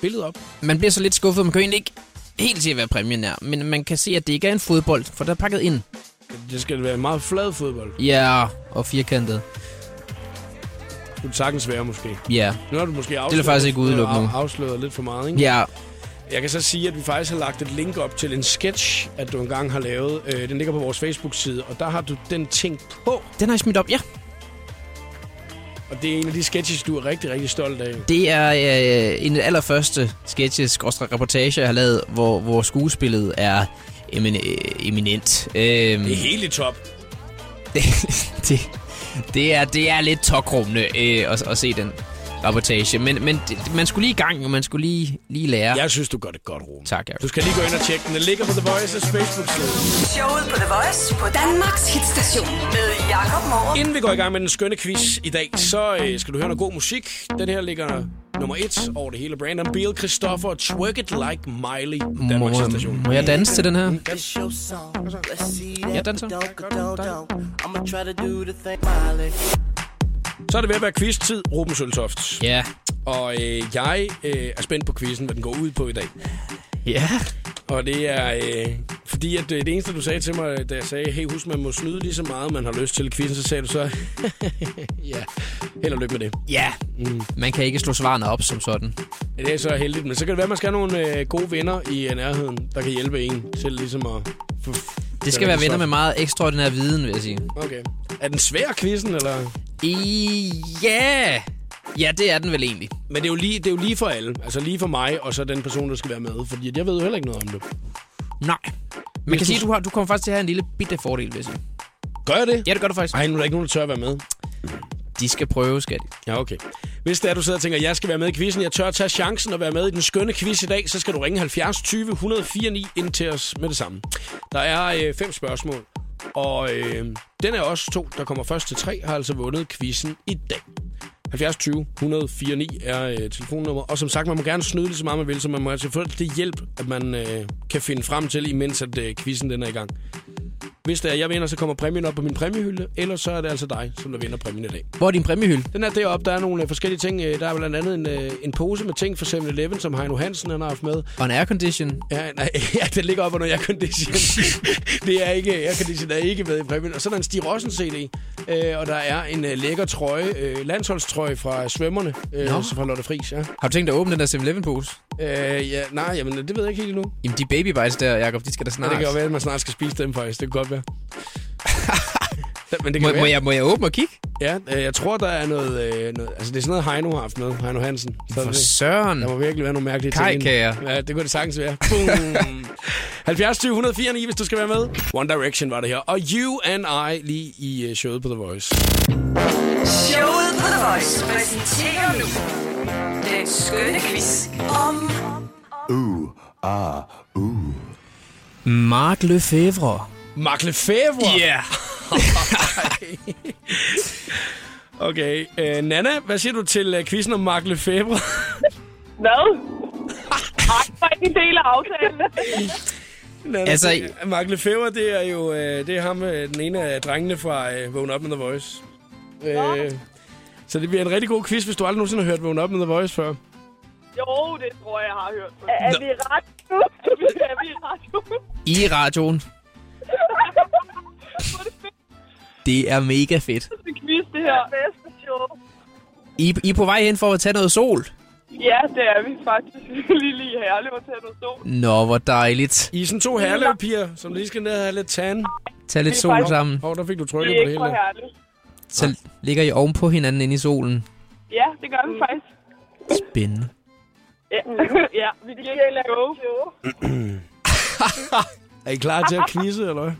billede op. Man bliver så lidt skuffet, man kan jo egentlig ikke helt se, hvad præmien er. Men man kan se, at det ikke er en fodbold, for der er pakket ind. Det skal være meget flad fodbold. Ja, og firkantet. Det kunne sagtens være, måske. Ja. Nu har du måske afsløret, vil jeg faktisk ikke udelukke af- nu. afsløret lidt for meget, ikke? Ja, Jeg kan så sige, at vi faktisk har lagt et link op til en sketch, at du engang har lavet. Øh, den ligger på vores Facebook-side, og der har du den ting på. den har jeg smidt op, ja. Og det er en af de sketches, du er rigtig, rigtig stolt af. Det er øh, en af de allerførste sketches reportage jeg har lavet, hvor, hvor skuespillet er emin- øh, eminent. Øhm, Det er helt i top. det, det, det, er, det er lidt tokrummende øh, at, at se den reportage, men, men det, man skulle lige i gang, og man skulle lige, lige lære. Jeg synes, du gør det godt, Ruben. Tak, Jacob. Du skal lige gå ind og tjekke den. Den ligger på The Voice's Facebook-side. Showet på The Voice på Danmarks hitstation med Jakob Møller. Inden vi går i gang med den skønne quiz i dag, så øh, skal du høre noget god musik. Den her ligger nummer et over det hele. Brandon Beal, Christoffer, Twerk It Like Miley. Danmarks Må, station. må jeg danse til den her? Jeg danser. I'ma try to do the thing. Miley. Så er det ved at være quiz-tid, Ruben Søltoft. Ja. Og øh, jeg øh, er spændt på quizzen, hvad den går ud på i dag. Ja. Og det er øh, fordi, at det, det eneste, du sagde til mig, øh, da jeg sagde, hey, husk, man må snyde lige så meget, man har lyst til i quizzen, så sagde du så, ja, held og lykke med det. Ja. Man kan ikke slå svarene op som sådan. Ja, Det er så heldigt, men så kan det være, at man skal have nogle øh, gode venner i øh, nærheden, der kan hjælpe en til ligesom at... få- Det skal få være venner svar. med meget ekstraordinær viden, vil jeg sige. Okay. Er den svær, quizzen, eller...? I... Ja! Ja, det er den vel egentlig. Men det er, jo lige, det er jo lige for alle. Altså lige for mig, og så den person, der skal være med. Fordi jeg ved jo heller ikke noget om det. Nej. Man kan sige, at du, har, du kommer faktisk til at have en lille bitte fordel, vil jeg sige. Gør jeg det? Ja, det gør du faktisk. Ej, nu er der ikke nogen, der tør at være med. De skal prøve, skal de. Ja, okay. Hvis det er, du sidder og tænker, jeg skal være med i quizzen, jeg tør tage chancen og være med i den skønne quiz i dag, så skal du ringe 70 20 104 9 ind til os med det samme. Der er øh, fem spørgsmål, og øh, den er også to, der kommer først til tre, har altså vundet quizzen i dag. 70 20 104 9 er øh, telefonnummer. Og som sagt, man må gerne snyde lige så meget, man vil, så man må altså få det hjælp, at man øh, kan finde frem til, imens at øh, quizzen den er i gang. Hvis det er, jeg vinder, så kommer præmien op på min præmiehylde, ellers så er det altså dig, som der vinder præmien i dag. Hvor er din præmiehylde? Den er deroppe, der er nogle øh, forskellige ting. Øh, Der er blandt andet en, øh, en pose med ting fra 7-Eleven, som Heino Hansen han har haft med. Og en aircondition. Ja, nej, ja, den ligger op under aircondition. det er ikke, aircondition er ikke med i præmien. Og så er der en Stig Rossen CD, øh, og der er en øh, lækker trøje, øh, landsholdstrøje fra svømmerne, øh, Nå. så fra Lotte Friis, ja. Har du tænkt dig at åbne den der 7-Eleven-pose? Øh, ja. Nej, jamen, det ved jeg ikke helt endnu. Jamen, de baby bites der, Jacob, de skal da Nej, snart. det kan jo være, at man snart skal spise dem faktisk. Det kan godt være. Men det må, være. må, jeg, må jeg åbne og kigge? Ja, øh, jeg tror, der er noget, øh, noget... Altså, det er sådan noget, Heino har haft med. Heino Hansen. Så er For det. søren. Der må virkelig være nogle mærkelige ting. inde. Kajkager. Ja, det kunne det sagtens være. Boom. 70 20 104 9, hvis du skal være med. One Direction var det her. Og You and I lige i øh, showet på The Voice. Showet på The Voice præsenterer nu den skønne quiz om Ooh, ah, ooh. Mark Lefebvre. Mark Lefebvre? Ja. Okay, øh, Nana, hvad siger du til øh, quizzen om Mark Lefebvre? Hvad? Ej, det var ikke en del af aftalen. Nana, Altså, det, Mark Lefebvre, det er jo øh, det er ham, øh, den ene af drengene fra øh, Vågn Up med The Voice. Øh, så det bliver en rigtig god quiz, hvis du aldrig nogensinde har hørt Vågn Up med The Voice før. Jo, det tror jeg, jeg har hørt. Er, er vi ret nu? er vi ret nu? I radioen. Det er mega fedt. Det er en quiz, det her. Det bedste show. I, I er på vej hen for at tage noget sol. Ja, det er vi faktisk. lige lige her. Jeg til at nå stå. Nå, hvor dejligt. I er sådan to herlev-piger, som lige skal ned og have lidt tan. Tag lidt sol sammen. Hov, der fik du Det trykket er på ikke det hele. for der. herligt. Så ligger I ovenpå hinanden inde i solen. Ja, det gør vi faktisk. Spændende. Ja, ja vi kan ikke lade show. Er I klar til at quizze, eller hvad?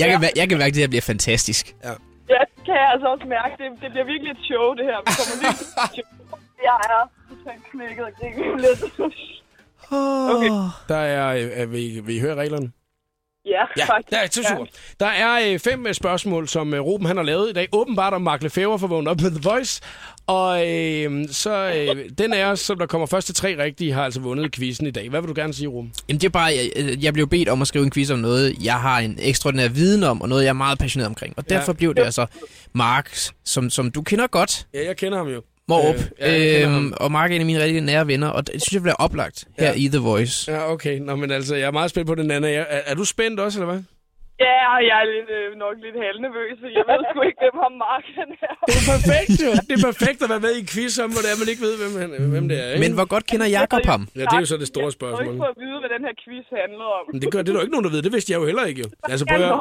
Jeg kan, mær- jeg kan mærke, at det her bliver fantastisk. Ja. Ja, det kan jeg altså også mærke. Det, det bliver virkelig et show, det her. Vi kommer virkelig til et show. Jeg er totalt knækket og griner lidt. Okay. Der er, øh, er vi, vi hører reglerne. Ja, Ja, faktisk. der er så super. Der er øh, fem øh, spørgsmål, som øh, Ruben han har lavet i dag. Åbenbart om Mark Lefebvre for vågen op med The Voice. Og øh, så øh, den er, som der kommer første tre rigtige, har altså vundet quizzen i dag. Hvad vil du gerne sige, Ruben? Jamen det er bare, jeg, øh, jeg blev bedt om at skrive en quiz om noget, jeg har en ekstraordinær viden om, og noget, jeg er meget passioneret omkring. Og Ja. derfor blev det altså Mark, som, som du kender godt, Ja, jeg kender ham jo. Morup. Øh, ja, jeg Øh, kender øhm, ham. og Mark er en af mine rigtig nære venner, og det synes jeg bliver oplagt her Ja. i The Voice. Ja, okay. Nå, men altså, jeg er meget spændt på den anden. Er, er du spændt også, eller hvad? Ja, og jeg er lidt, øh, nok lidt halvnervøs, fordi jeg ved sgu ikke, hvem ham Mark han er. Det er perfekt, jo. Det er perfekt at være med i en quiz om, hvor det er, man ikke ved, hvem, han, hvem det er. Ikke? Men hvor godt kender Jakob ham? Ja, det er jo så det store Jeg har spørgsmål. ikke fået at vide, hvad den her quiz handlede om. Men det, gør, det er der jo ikke nogen, der ved. Det vidste jeg jo heller ikke. Jo. Altså, prøv at, høre.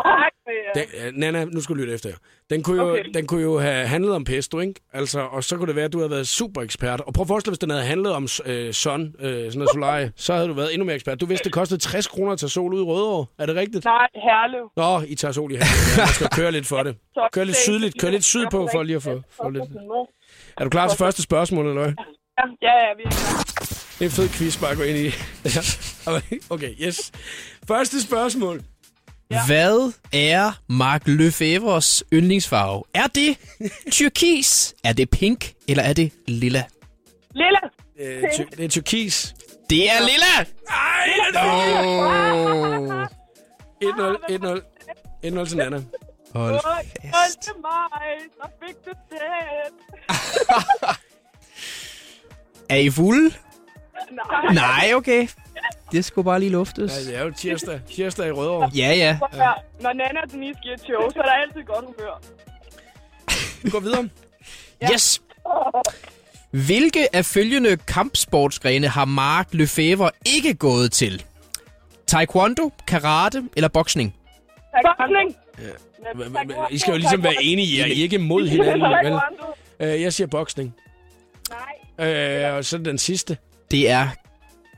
den, ja, Nana, nu skal du lytte efter her. Den kunne, jo, Okay. okay. den kunne jo have handlet om pesto, ikke? Altså, og så kunne det være, at du havde været super ekspert. Og prøv at forestille dig, hvis den havde handlet om øh, sun, øh, sådan noget solarie, så havde du været endnu mere ekspert. Du vidste, det kostede 60 kroner at tage sol ud i Rødovre. Er det rigtigt? Nej, Herlev. Nå, I tager sol i her. Man skal køre lidt for det. Kør lidt sydligt. Kør lidt sydpå for lige at få, få lidt. Er du klar til første spørgsmål, eller hvad? Ja, ja, ja, vi er klar. Det er en fed quiz, bare at gå ind i. Ja. Okay, yes. Første spørgsmål. Hvad er Mark Lefebvres yndlingsfarve? Er det turkis? Er det pink? Eller er det lilla? Lilla! Øh, ty- det er turkis. Det er lilla! Ej, Åh. Ah, 1-0, 1-0. 1-0 til Nana. Hold. Hold til mig, så fik du den. Er I fulde? Nej. Nej, okay. Det skulle bare lige luftes. Ja, det er jo tirsdag. Tirsdag i Rødovre. Ja, ja. Prøv at høre, Når Nana og Denise giver et show, så er der altid godt humør. Vi går videre. Yes! Hvilke af følgende kampsportsgrene har Mark Lefebvre ikke gået til? Taekwondo, karate eller boksning? Boksning! Hva- hva- hva- I skal jo ligesom være enige, I er ikke mod hinanden. Vel? Øh, jeg siger boksning. Nej. Øh, og så den sidste. Det er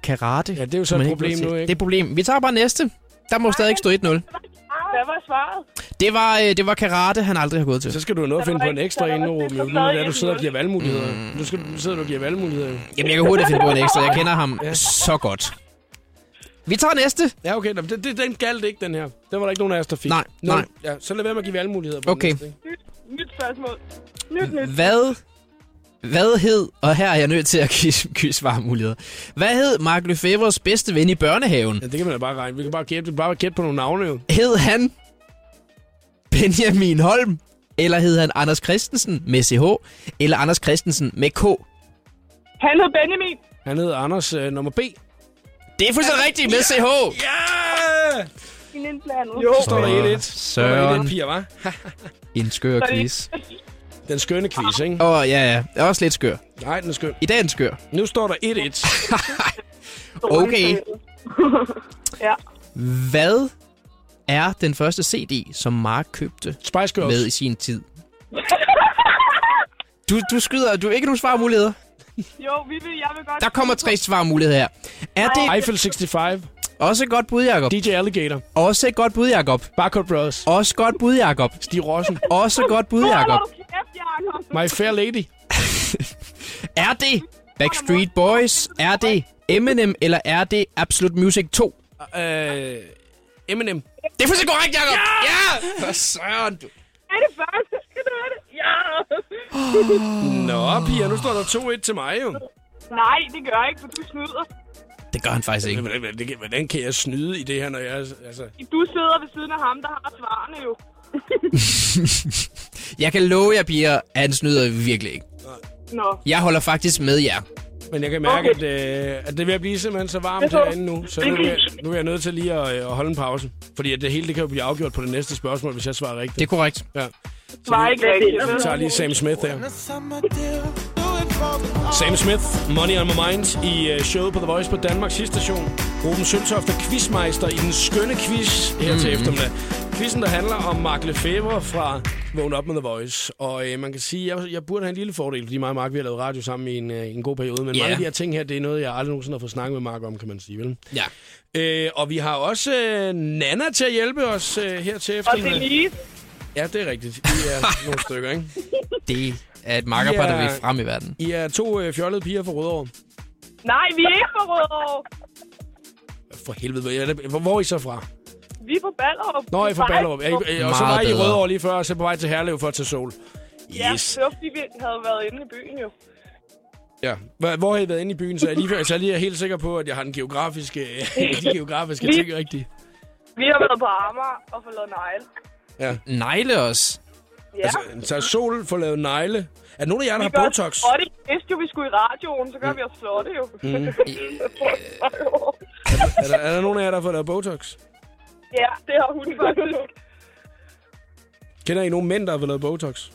karate. Ja, det er jo så et problem nu, ikke? Det er et problem. Vi tager bare næste. Der må stadig ikke stå 1-0. Hvad var svaret? Det var, øh, det var karate, han aldrig har gået til. Så skal du jo nå at finde på en ekstra inden, Ruben. jo. Nu er du sidder og giver Mm. valgmuligheder. Nu skal du, nu sidder du og giver valgmuligheder. jo. Jamen, jeg kan hurtigt finde på en ekstra. Jeg kender ham så godt. Vi tager næste. Ja, okay. Nå, men det, det, den galt ikke, den her. Den var der ikke nogen af os, der fik. Nej, Nå, nej. Ja, så lad være med at give valgmuligheder på Okay. den næste, ikke? Nyt, nyt spørgsmål. Nyt, nyt. Hvad Hvad hed, og her er jeg nødt til at give, give svarmuligheder. Hvad hed Mark Lefebvres bedste ven i børnehaven? Ja, det kan man da bare regne. Vi kan bare gætte, vi kan bare gætte på nogle navne jo. Hed han Benjamin Holm? Eller hed han Anders Christensen med CH? Eller Anders Christensen med K? Han hed Benjamin. Han hedder Anders øh, nummer B. Det er fuldstændig rigtigt med CH. Ja! Min indblandet. Jo. Så står der 1-1. Søren. Søren. piger, hva'? En skør Så er det- quiz. Den skønne quiz, ikke? Åh, oh, ja, ja. Også lidt skør. Nej, den er skøn. I dag er den skør. Nu står der 1-1. Okay. ja. Hvad er den første CD, som Mark købte Spice Girls. med i sin tid? Du, du skyder, du har ikke nogen svarmuligheder. Jo, vi vil, jeg vil godt... Der kommer tre svarmuligheder her. Er det Eiffel 65. også et godt bud, Jacob? DJ Alligator. Også et godt bud, Jacob. Barcode Brothers. Også godt bud, Jacob. Stig Rossen. Også godt bud, Jacob. Hold nu kæft, Jacob. My Fair Lady. Er det Backstreet Boys? Er det Eminem? Eller er det Absolute Music 2? Øh, Eminem. Det er fuldstændig korrekt, Jacob. Ja! For søren, du. Er det første? Skal du have det? Ja. Nå, piger, nu står der 2-1 til mig jo. Nej, det gør jeg ikke, for du snyder. Det gør han faktisk ikke. Hvordan, hvordan, det- hvordan kan jeg snyde i det her, når jeg... Altså, Du sidder ved siden af ham, der har svarene jo. Jeg kan love jer, piger, at han snyder virkelig ikke. Nå. Jeg holder faktisk med jer. men jeg kan mærke, okay. at, øh, at det vil blive simpelthen så varmt herinde nu, så nu er, jeg, nu er jeg nødt til lige at, øh, at holde en pause. Fordi at det hele det kan jo blive afgjort på det næste spørgsmål, hvis jeg svarer rigtigt. Det er korrekt. Ja. Svarer ikke rigtigt. Jeg tager lige Sam Smith der. Sam Smith, Money on My Mind, i øh, showet på The Voice på Danmarks station. Ruben Søltoft er quizmeister i den skønne quiz her til Mhm. eftermiddag. Quizzen, der handler om Mark Lefebvre fra Vågn op med The Voice. Og øh, man kan sige, jeg, jeg burde have en lille fordel, fordi mig og Mark, vi har lavet radio sammen i en, øh, en god periode. Men Ja. mange af de her ting her, det er noget, jeg aldrig nogensinde har fået snakket med Mark om, kan man sige, vel? Ja. Øh, og vi har også øh, Nana til at hjælpe os øh, her til Og eftermiddag. det er lige... Ja, det er rigtigt. I er nogle stykker, ikke? Det er et makkerbatteri Ja. yeah. frem i verden. I er to øh, fjollede piger fra Rødovre. Nej, vi er ikke fra Rødovre. For helvede, hvor er det- hvor, hvor er I så fra? Vi er på Ballerup. Nå, I er fra Bare- Ballerup. Er I, øh, og så Meget var I i bedre. Rødovre lige før, og så på vej til Herlev for at tage sol. Ja, Yes. det var fordi, vi havde været inde i byen jo. Ja. Hvor, hvor har I været inde i byen? Så er jeg lige, før- så er jeg lige helt sikker på, at jeg har den geografiske, de geografiske Vi- ting rigtigt. Vi har været på Amager og fået lavet negle. Ja. Negle os. Ja. Altså, så er sol får lavet negle. Er der nogen af jer, der vi har Botox? Og det vidste jo, vi skulle i radioen, så gør vi os flotte jo. Mm. ja, Er der, er der nogen af jer, der har fået lavet Botox? det har hun faktisk. Kender I nogen mænd, der har fået lavet Botox?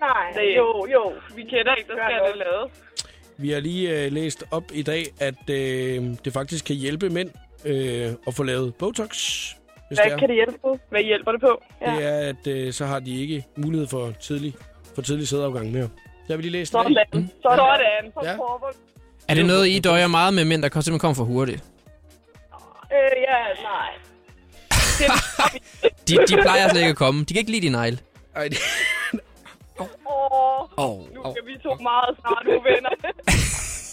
Nej, jo, jo. Vi kender ikke, der skal det lavet. Vi har lige øh, læst op i dag, at øh, det faktisk kan hjælpe mænd øh, at få lavet Botox. Hvis Hvad kan det hjælpe på? Hvad hjælper det på? Ja. det er, at øh, så har de ikke mulighed for tidlig, for tidlig sædeafgang mere. Det har vi lige læst i dag. Sådan. Sådan. Sådan. Ja. Sådan. Er det noget, I døjer meget med mænd, der kom- simpelthen kommer for hurtigt? Øh, ja, nej. De, de plejer slet ikke at komme. De kan ikke lide din negle. Ej, det- Åh, Åh, nu åh. er vi to meget snart uvenner. det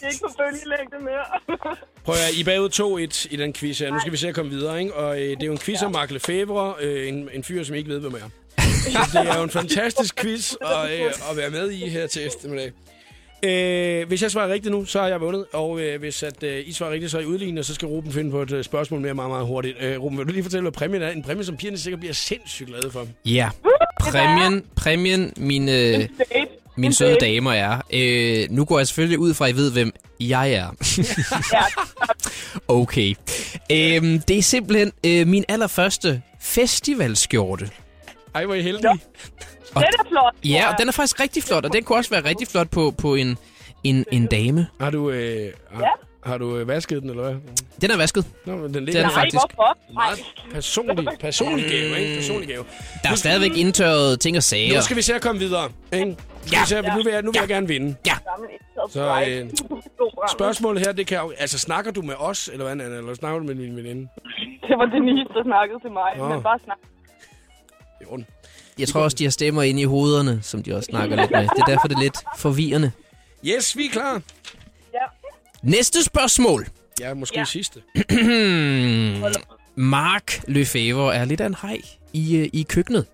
er ikke på bølgelængde mere. Prøv at høre, I er bagud 2-1 i den quiz her. Nu skal vi se at komme videre, ikke? Og øh, det er jo en quiz om Mark Lefebvre, øh, en, en fyr, som I ikke ved, hvem er. Så det er jo en fantastisk quiz at, øh, at være med i her til eftermiddag. Øh, hvis jeg svarer rigtigt nu, så har jeg vundet. Og øh, hvis at, øh, I svarer rigtigt, så er I udlignet, og så skal Ruben finde på et øh, spørgsmål mere meget, meget hurtigt. Øh, Ruben, vil du lige fortælle, hvad præmien er? En præmie, som pigerne sikkert bliver sindssygt glade for. Ja. Præmien, præmien mine, mine søde damer er. Øh, nu går jeg selvfølgelig ud fra, at I ved, hvem jeg er. okay. Øhm, det er simpelthen øh, min allerførste festivalskjorte. Ej, hvor er I heldige. Den er flot. Ja, og den er faktisk rigtig flot, og den kunne også være rigtig flot på, på en, en, en dame. Har du, øh, har, Ja. har du øh, vasket den, eller hvad? Den er vasket. Nå, men den Den ligger er den Nej, faktisk- hvorfor? Nej. personlig, personlig gave, ikke? Personlig gave. Der er stadigvæk indtørret ting og sager. Nu skal vi se at komme videre, ikke? Ja. Ja. Se, at nu vil jeg, nu vil jeg gerne vinde. Så, øh, Spørgsmålet her, det kan jo... Altså, snakker du med os, eller hvad, Anna? Eller snakker du med min veninde? Det var Denise, der snakkede til mig, Nå. men bare snak. Jo, Jeg tror også, de har stemmer inde i hovederne, som de også snakker lidt med. Det er derfor, det er lidt forvirrende. Yes, vi er klar. Næste spørgsmål. Ja, måske ja. sidste. Mark Lefebvre er lidt af en hej i, øh, i køkkenet.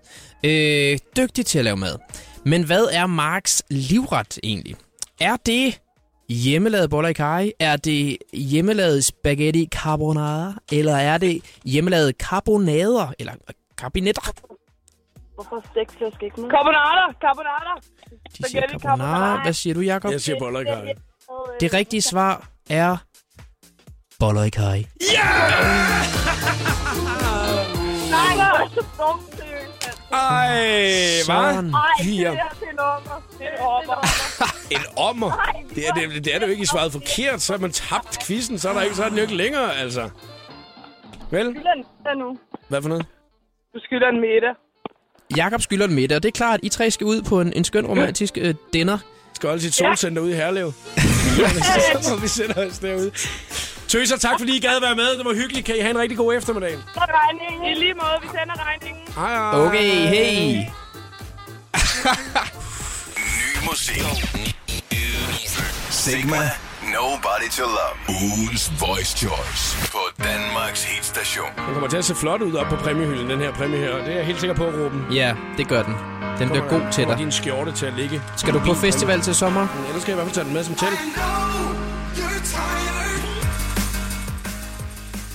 Øh, dygtig til at lave mad. Men hvad er Marks livret egentlig? Er det hjemmelavet boller i karry? Er det hjemmelavet spaghetti carbonara? Eller er det hjemmelavet carbonader? Eller øh, carbinetter? Hvorfor stegt flæsk ikke med? Carbonara! Carbonara! De siger carbonara. Hvad siger du, Jacob? Jeg siger boller i karry. Det rigtige svar er boller i karry. Nej, hvor er det dumt, seriøst, altså. Ej, hvad? Sådan. Ej, det Fire. der, det er en ommer. Det er en ommer. En ommer? Det er det, det, er det jo ikke I svaret forkert. Så har man tabt quizzen, så er, der ikke, så er den jo ikke længere, altså. Du Vel? skylder en middag nu. Hvad for noget? Du skylder en middag. Jakob skylder den middag, og det er klart, at I tre skal ud på en, en skøn romantisk øh, dinner. Skal holde sit solcenter ude i Herlev. Så vi sender os derude. Tøser, tak fordi I gad være med. Det var hyggeligt. Kan I have en rigtig god eftermiddag. Så er regningen. I lige måde, vi sender regningen. Hej, hej. Okay, hey. Ny musik. Sigma. Nobody to love. Ugens Voice Choice på Danmarks hitstation. Den kommer til at se flot ud op på præmiehylden, den her præmie her. Det er jeg helt sikker på, Ruben. Ja, det gør den. Den bliver Kommer- god til kommer dig. din skjorte til at ligge. Skal du på festival til sommer? Ellers skal jeg i hvert fald tage den med som telt.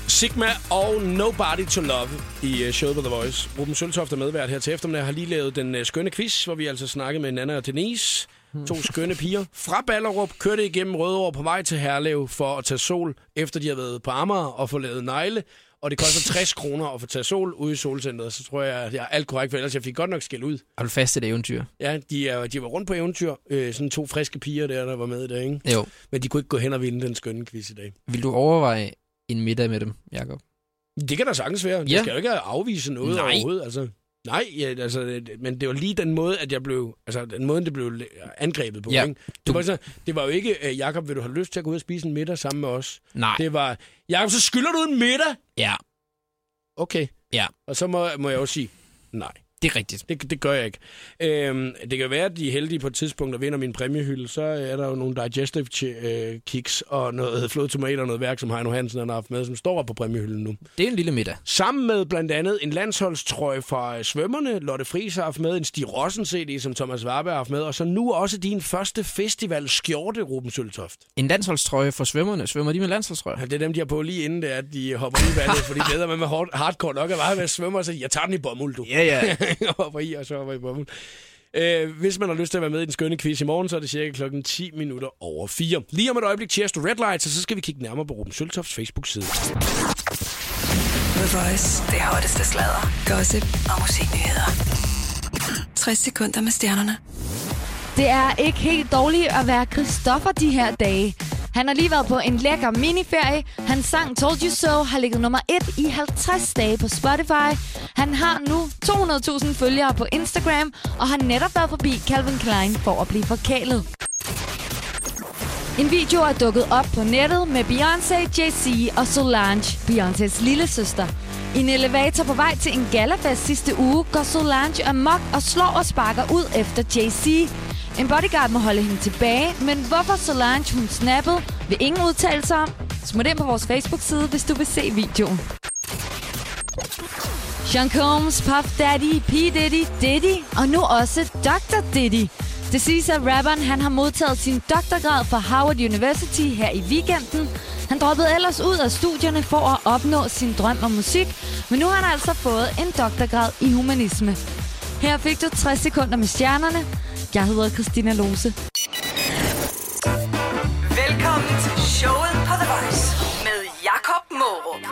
Sigma og Nobody to Love i øh, showet på The Voice. Ruben Søltoft er medvært her til eftermiddag, har lige lavet den øh, skønne quiz, hvor vi altså snakkede med Nana og Denise. To skønne piger fra Ballerup kørte igennem Rødovre på vej til Herlev for at tage sol, efter de har været på Amager og få lavet negle. Og det koster 60 kroner at få taget sol ude i solcenteret, så tror jeg, at jeg er alt korrekt, for ellers jeg fik godt nok skæld ud. Hold fast i det eventyr. Ja, de, er, de var rundt på eventyr. Øh, sådan to friske piger der, der var med i dag, ikke? Jo. Men de kunne ikke gå hen og vinde den skønne quiz i dag. Vil du overveje en middag med dem, Jakob? Det kan da sagtens være. Ja. Ja. Jeg skal jo ikke afvise noget Nej. overhovedet. Altså. Nej, ja, altså, det- men det var lige den måde, at jeg blev, altså, den måde, det blev la- angrebet på. Ja. Ikke? Det, var sådan, det var jo ikke, øh, Jakob, vil du have lyst til at gå ud og spise en middag sammen med os? Nej. Det var, Jakob, så skylder du en middag? Ja, Okay. ja. Og så må, må jeg også sige, nej. Det er rigtigt. Det, det gør jeg ikke. Øhm, det kan være, at de er heldige på et tidspunkt og vinder min præmiehylde. Så er der jo nogle digestive chi- øh, kiks og noget flodtomater og noget værk, som Heino Hansen han har haft med, som står på præmiehylden nu. Det er en lille middag. Sammen med blandt andet en landsholdstrøje fra øh, svømmerne, Lotte Friis har haft med, en Stig Rossen CD, som Thomas Warberg har haft med, og så nu også din første festival skjorte, Ruben Søltoft. En landsholdstrøje for svømmerne. Svømmer de med landsholdstrøje? Ja, Det er dem, de har på lige inden det er, at de hopper ud i vandet, fordi det er man med hard- hardcore nok at være med at svømme, og så jeg tager den i bomuld, du. Ja, ja. Jeg hopper i, og så hopper i bomuld. Øh, hvis man har lyst til at være med i den skønne quiz i morgen, så er det cirka klokken 10 minutter over 4. Lige om et øjeblik, cheers to Red Lights, og så skal vi kigge nærmere på Ruben Søltofts Facebook-side. The Voice. Det hotteste sladder, gossip og musiknyheder. 60 sekunder med stjernerne. Det er ikke helt dårligt at være Christoffer de her dage. Han har lige været på en lækker miniferie. Hans sang Told You So har ligget nummer 1 i 50 dage på Spotify. Han har nu 200.000 følgere på Instagram og har netop været forbi Calvin Klein for at blive forkælet. En video er dukket op på nettet med Beyoncé, Jay-Z og Solange, Beyoncés lille søster. I en elevator på vej til en galafest sidste uge går Solange amok og slår og sparker ud efter Jay-Z. En bodyguard må holde hende tilbage, men hvorfor Solange hun snappede, vil ingen udtale sig om. Smut ind på vores Facebook-side, hvis du vil se videoen. Sean Combs, Puff Daddy, P. Diddy, Diddy og nu også Dr. Diddy. Det siges, at rapperen han har modtaget sin doktorgrad fra Howard University her i weekenden. Han droppede ellers ud af studierne for at opnå sin drøm om musik, men nu har han altså fået en doktorgrad i humanisme. Her fik du 60 sekunder med stjernerne. Jeg hedder Christina Lose. Velkommen til showet på The Voice med Jakob Morup.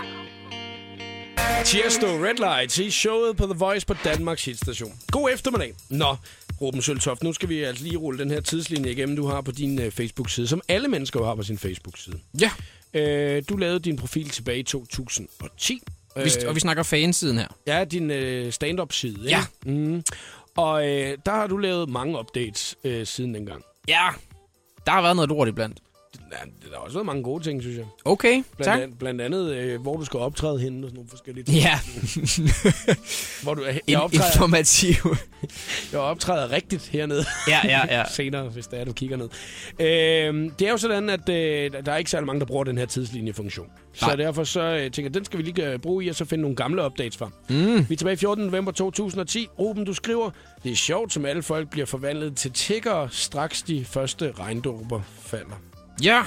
Cheers to Red Lights i showet på The Voice på Danmarks hitstation. God eftermiddag. Nå, Ruben Søltoft, nu skal vi altså lige rulle den her tidslinje igennem, du har på din øh, Facebook-side, som alle mennesker jo har på sin Facebook-side. Ja. Øh, du lavede din profil tilbage i 2010. Vi, og vi snakker fansiden her. Øh, Ja, din øh, stand-up-side. ikke? Ja. Mm. Og øh, der har du lavet mange updates øh, siden dengang. Ja. Der har været noget lort iblandt. Ja, der har også været mange gode ting, synes jeg. Okay, blandt tak. An, blandt andet, øh, hvor du skal optræde henne og sådan nogle forskellige ting. Ja. hvor du, jeg, En- jeg optræder, informativ. jeg optræder rigtigt hernede. Ja, ja, ja. Senere, hvis der er, du kigger ned. Øh, det er jo sådan, at øh, der er ikke særlig mange, der bruger den her tidslinjefunktion. Så Nej. derfor så øh, tænker jeg, den skal vi lige øh, bruge i, og så finde nogle gamle updates fra. Mm. Vi er tilbage 14. november 2010. Ruben, du skriver, det er sjovt, som alle folk bliver forvandlet til tiggere, straks de første regndråber falder. Ja.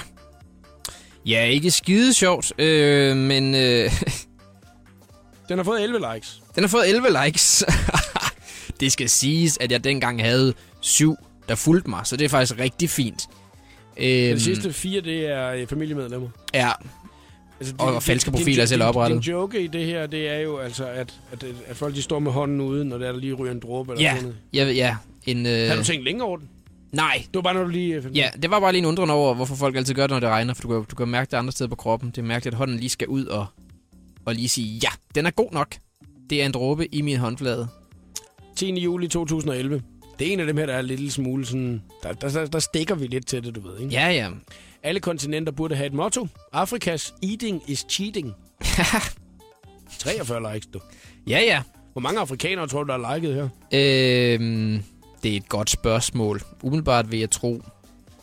Ja, ikke skide sjovt, øh, men... Øh, den har fået 11 likes. Den har fået 11 likes. det skal siges, at jeg dengang havde syv, der fulgte mig, så det er faktisk rigtig fint. Øhm, De sidste fire, det er øh, familiemedlemmer. Ja. Altså, Og falske profiler er selv oprettet. Din joke i det her, det er jo altså, at, at, at folk de står med hånden ude, når der er, der lige ryger en dråbe eller Ja, sådan noget. ja, ja. En, øh, Har du tænkt længere over den? Nej. Det var bare, når du lige... øh, fandt Ja, det var bare lige en undren over, hvorfor folk altid gør det, når det regner, for du kan, du kan mærke det andre steder på kroppen. Det er mærkeligt, at hånden lige skal ud og, og lige sige, ja, den er god nok. Det er en dråbe i min håndflade. 10. juli 2011. Det er en af dem her, der er lidt smule sådan... Der, der, der, der stikker vi lidt til det, du ved, ikke? Ja, ja. Alle kontinenter burde have et motto. Afrikas eating is cheating. 43 likes, du. Ja, ja. Hvor mange afrikanere tror du, der har liket her? Øhm, det er et godt spørgsmål. Umiddelbart vil jeg tro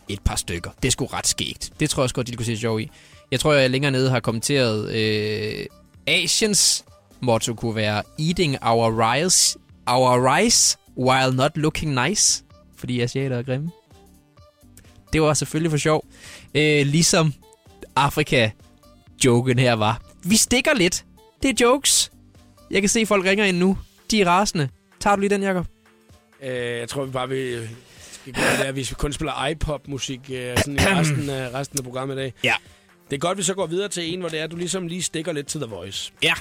et par stykker. Det er sgu ret skægt. Det tror jeg også godt, de kunne se sjov i. Jeg tror, jeg længere nede har kommenteret, øh, Asiens motto kunne være Eating our rice, our rice while not looking nice. Fordi asiater er grimme. Det var selvfølgelig for sjov. Øh, ligesom Afrika-joken her var. Vi stikker lidt. Det er jokes. Jeg kan se, folk ringer ind nu. De er rasende. Tager du lige den, Jacob? Øh, jeg tror, vi bare vil... Skal gøre det, at vi kun spiller iPop-musik øh, sådan i resten, af, resten af programmet i dag. Ja. Det er godt, vi så går videre til en, hvor det er, du ligesom lige stikker lidt til The Voice. Ja.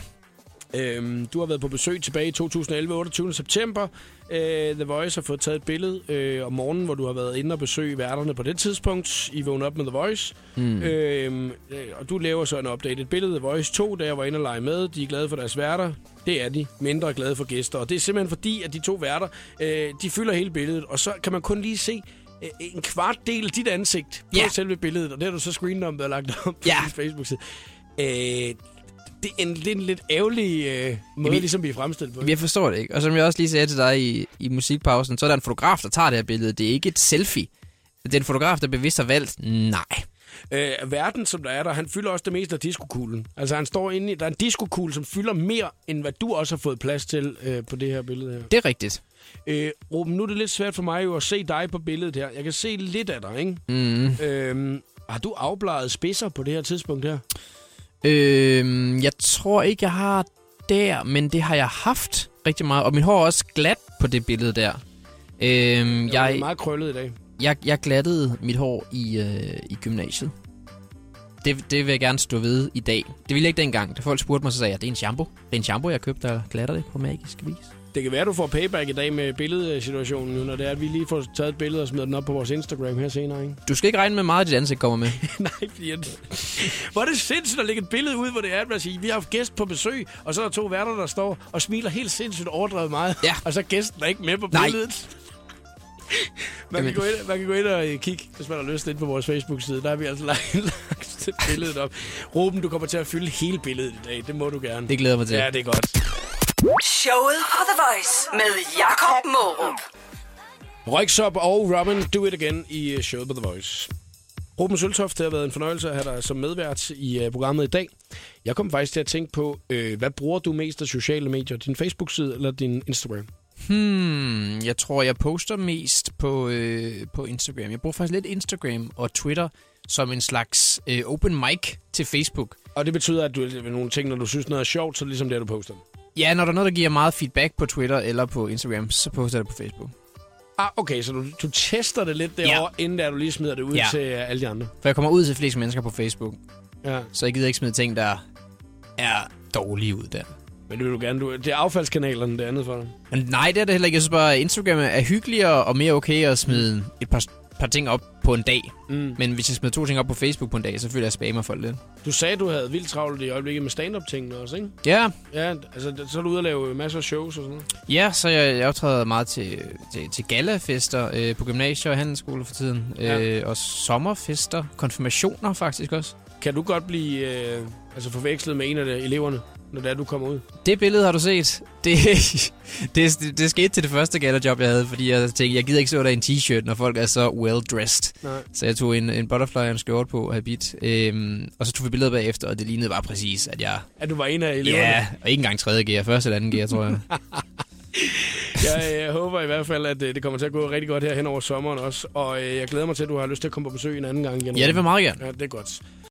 Øhm, du har været på besøg tilbage i 2011, 28. september. Øh, The Voice har fået taget et billede øh, om morgenen, hvor du har været inde og besøge værterne på det tidspunkt. I vågnede op med The Voice. Mm. Øhm, øh, og du laver så en updated billede af Voice 2, da jeg var inde og lege med. De er glade for deres værter. Det er de. Mindre glade for gæster. Og det er simpelthen fordi, at de to værter, øh, de fylder hele billedet. Og så kan man kun lige se øh, en kvart del af dit ansigt på Ja. selve billedet. Og det har du så screendumpet og lagt op på Ja. din Facebook-side. Øh, det er en, lidt, en lidt ærgerlig øh, måde, vi- ligesom vi er fremstillet på. Jeg forstår det ikke. Og som jeg også lige sagde til dig i, i musikpausen, så er der en fotograf, der tager det her billede. Det er ikke et selfie. Det er en fotograf, der bevidst har valgt, nej. Øh, verden, som der er der, han fylder også det meste af diskokuglen. Altså, han står inde i... Der er en diskokuglen, som fylder mere, end hvad du også har fået plads til øh, på det her billede her. Det er rigtigt. Øh, Ruben, nu er det lidt svært for mig jo at se dig på billedet her. Jeg kan se lidt af dig, ikke? Mm. Øhm, har du afbladet spidser på det her tidspunkt her? Øhm, jeg tror ikke, jeg har der, men det har jeg haft rigtig meget. Og min hår er også glat på det billede der. Øhm, Jeg er jeg, meget krøllet i dag. jeg, jeg glattede mit hår i, øh, i gymnasiet. Det, det vil jeg gerne stå ved i dag. Det ville jeg ikke dengang. Da folk spurgte mig, så sagde jeg, det er en shampoo. Det er en shampoo, jeg købte, der glatter det på magisk vis. Det kan være, du får payback i dag med billedsituationen, nu, når det er, at vi lige får taget et billede og smider den op på vores Instagram her senere, ikke? Du skal ikke regne med meget, af dit ansigt kommer med. Nej, fordi at- Hvor er det sindssygt at lægge et billede ud, hvor det er, at man siger, vi har haft gæst på besøg, og så er der to værter, der står og smiler helt sindssygt overdrevet meget, ja. og så er gæsten er ikke med på Nej. billedet. Man kan, Jamen. gå ind, man kan gå ind og øh, kigge, hvis man har lyst, ind på vores Facebook-side. Der har vi altså lagt, lagt billedet op. Ruben, du kommer til at fylde hele billedet i dag. Det må du gerne. Det glæder jeg mig til. Ja, det er godt. Showet på The Voice med Jakob Morup. Røgsop og Robin, do it again i øh, showet på The Voice. Ruben Søltoft, det har været en fornøjelse at have dig som medvært i øh, programmet i dag. Jeg kom faktisk til at tænke på, øh, hvad bruger du mest af sociale medier? Din Facebook-side eller din Instagram? Hmm, jeg tror, jeg poster mest på, øh, på Instagram. Jeg bruger faktisk lidt Instagram og Twitter som en slags øh, open mic til Facebook. Og det betyder, at du øh, nogle ting, når du synes noget er sjovt, så er det ligesom det, du poster. Ja, når der er noget, der giver meget feedback på Twitter eller på Instagram, så poster jeg det på Facebook. Ah, okay, så du, du tester det lidt derovre, ja. inden der du lige smider det ud ja. Ja. til øh, alle de andre. For jeg kommer ud til flest mennesker på Facebook, Ja. så jeg gider ikke smide ting, der er dårlige ud der. Men det vil du gerne. Du, det er affaldskanalerne, det andet for dig. Men nej, det er det heller ikke. Jeg synes bare, at Instagram er hyggeligere og mere okay at smide et par par ting op på en dag. Mm. Men hvis jeg smider to ting op på Facebook på en dag, så føler jeg, at jeg spammer folk lidt. Du sagde, du havde vildt travlt i øjeblikket med stand-up-tingene også, ikke? Ja. Ja, altså så er du ude og lave masser af shows og sådan noget. Ja, så jeg, jeg optræder meget til, til, til galafester øh, på gymnasier og handelsskole for tiden. Ja. Ja. Øh, og sommerfester, konfirmationer faktisk også. Kan du godt blive øh, altså forvekslet med en af de eleverne, når det er, du kommer ud? Det billede har du set. Det, det, det, det skete til det første gallerjob, jeg havde, fordi jeg tænkte, jeg gider ikke stå der i en t-shirt, når folk er så well-dressed. Nej. Så jeg tog en, en butterfly og en skjorte på og habit, øhm, og så tog vi billeder bagefter, og det lignede bare præcis, at jeg... At du var en af eleverne? Ja, og ikke engang 3. gear, første eller anden gear, tror jeg. jeg, jeg håber i hvert fald, at øh, det kommer til at gå rigtig godt her hen over sommeren også. Og øh, jeg glæder mig til, at du har lyst til at komme på besøg en anden gang igen. Ja, det vil jeg meget gerne. Ja, det er godt.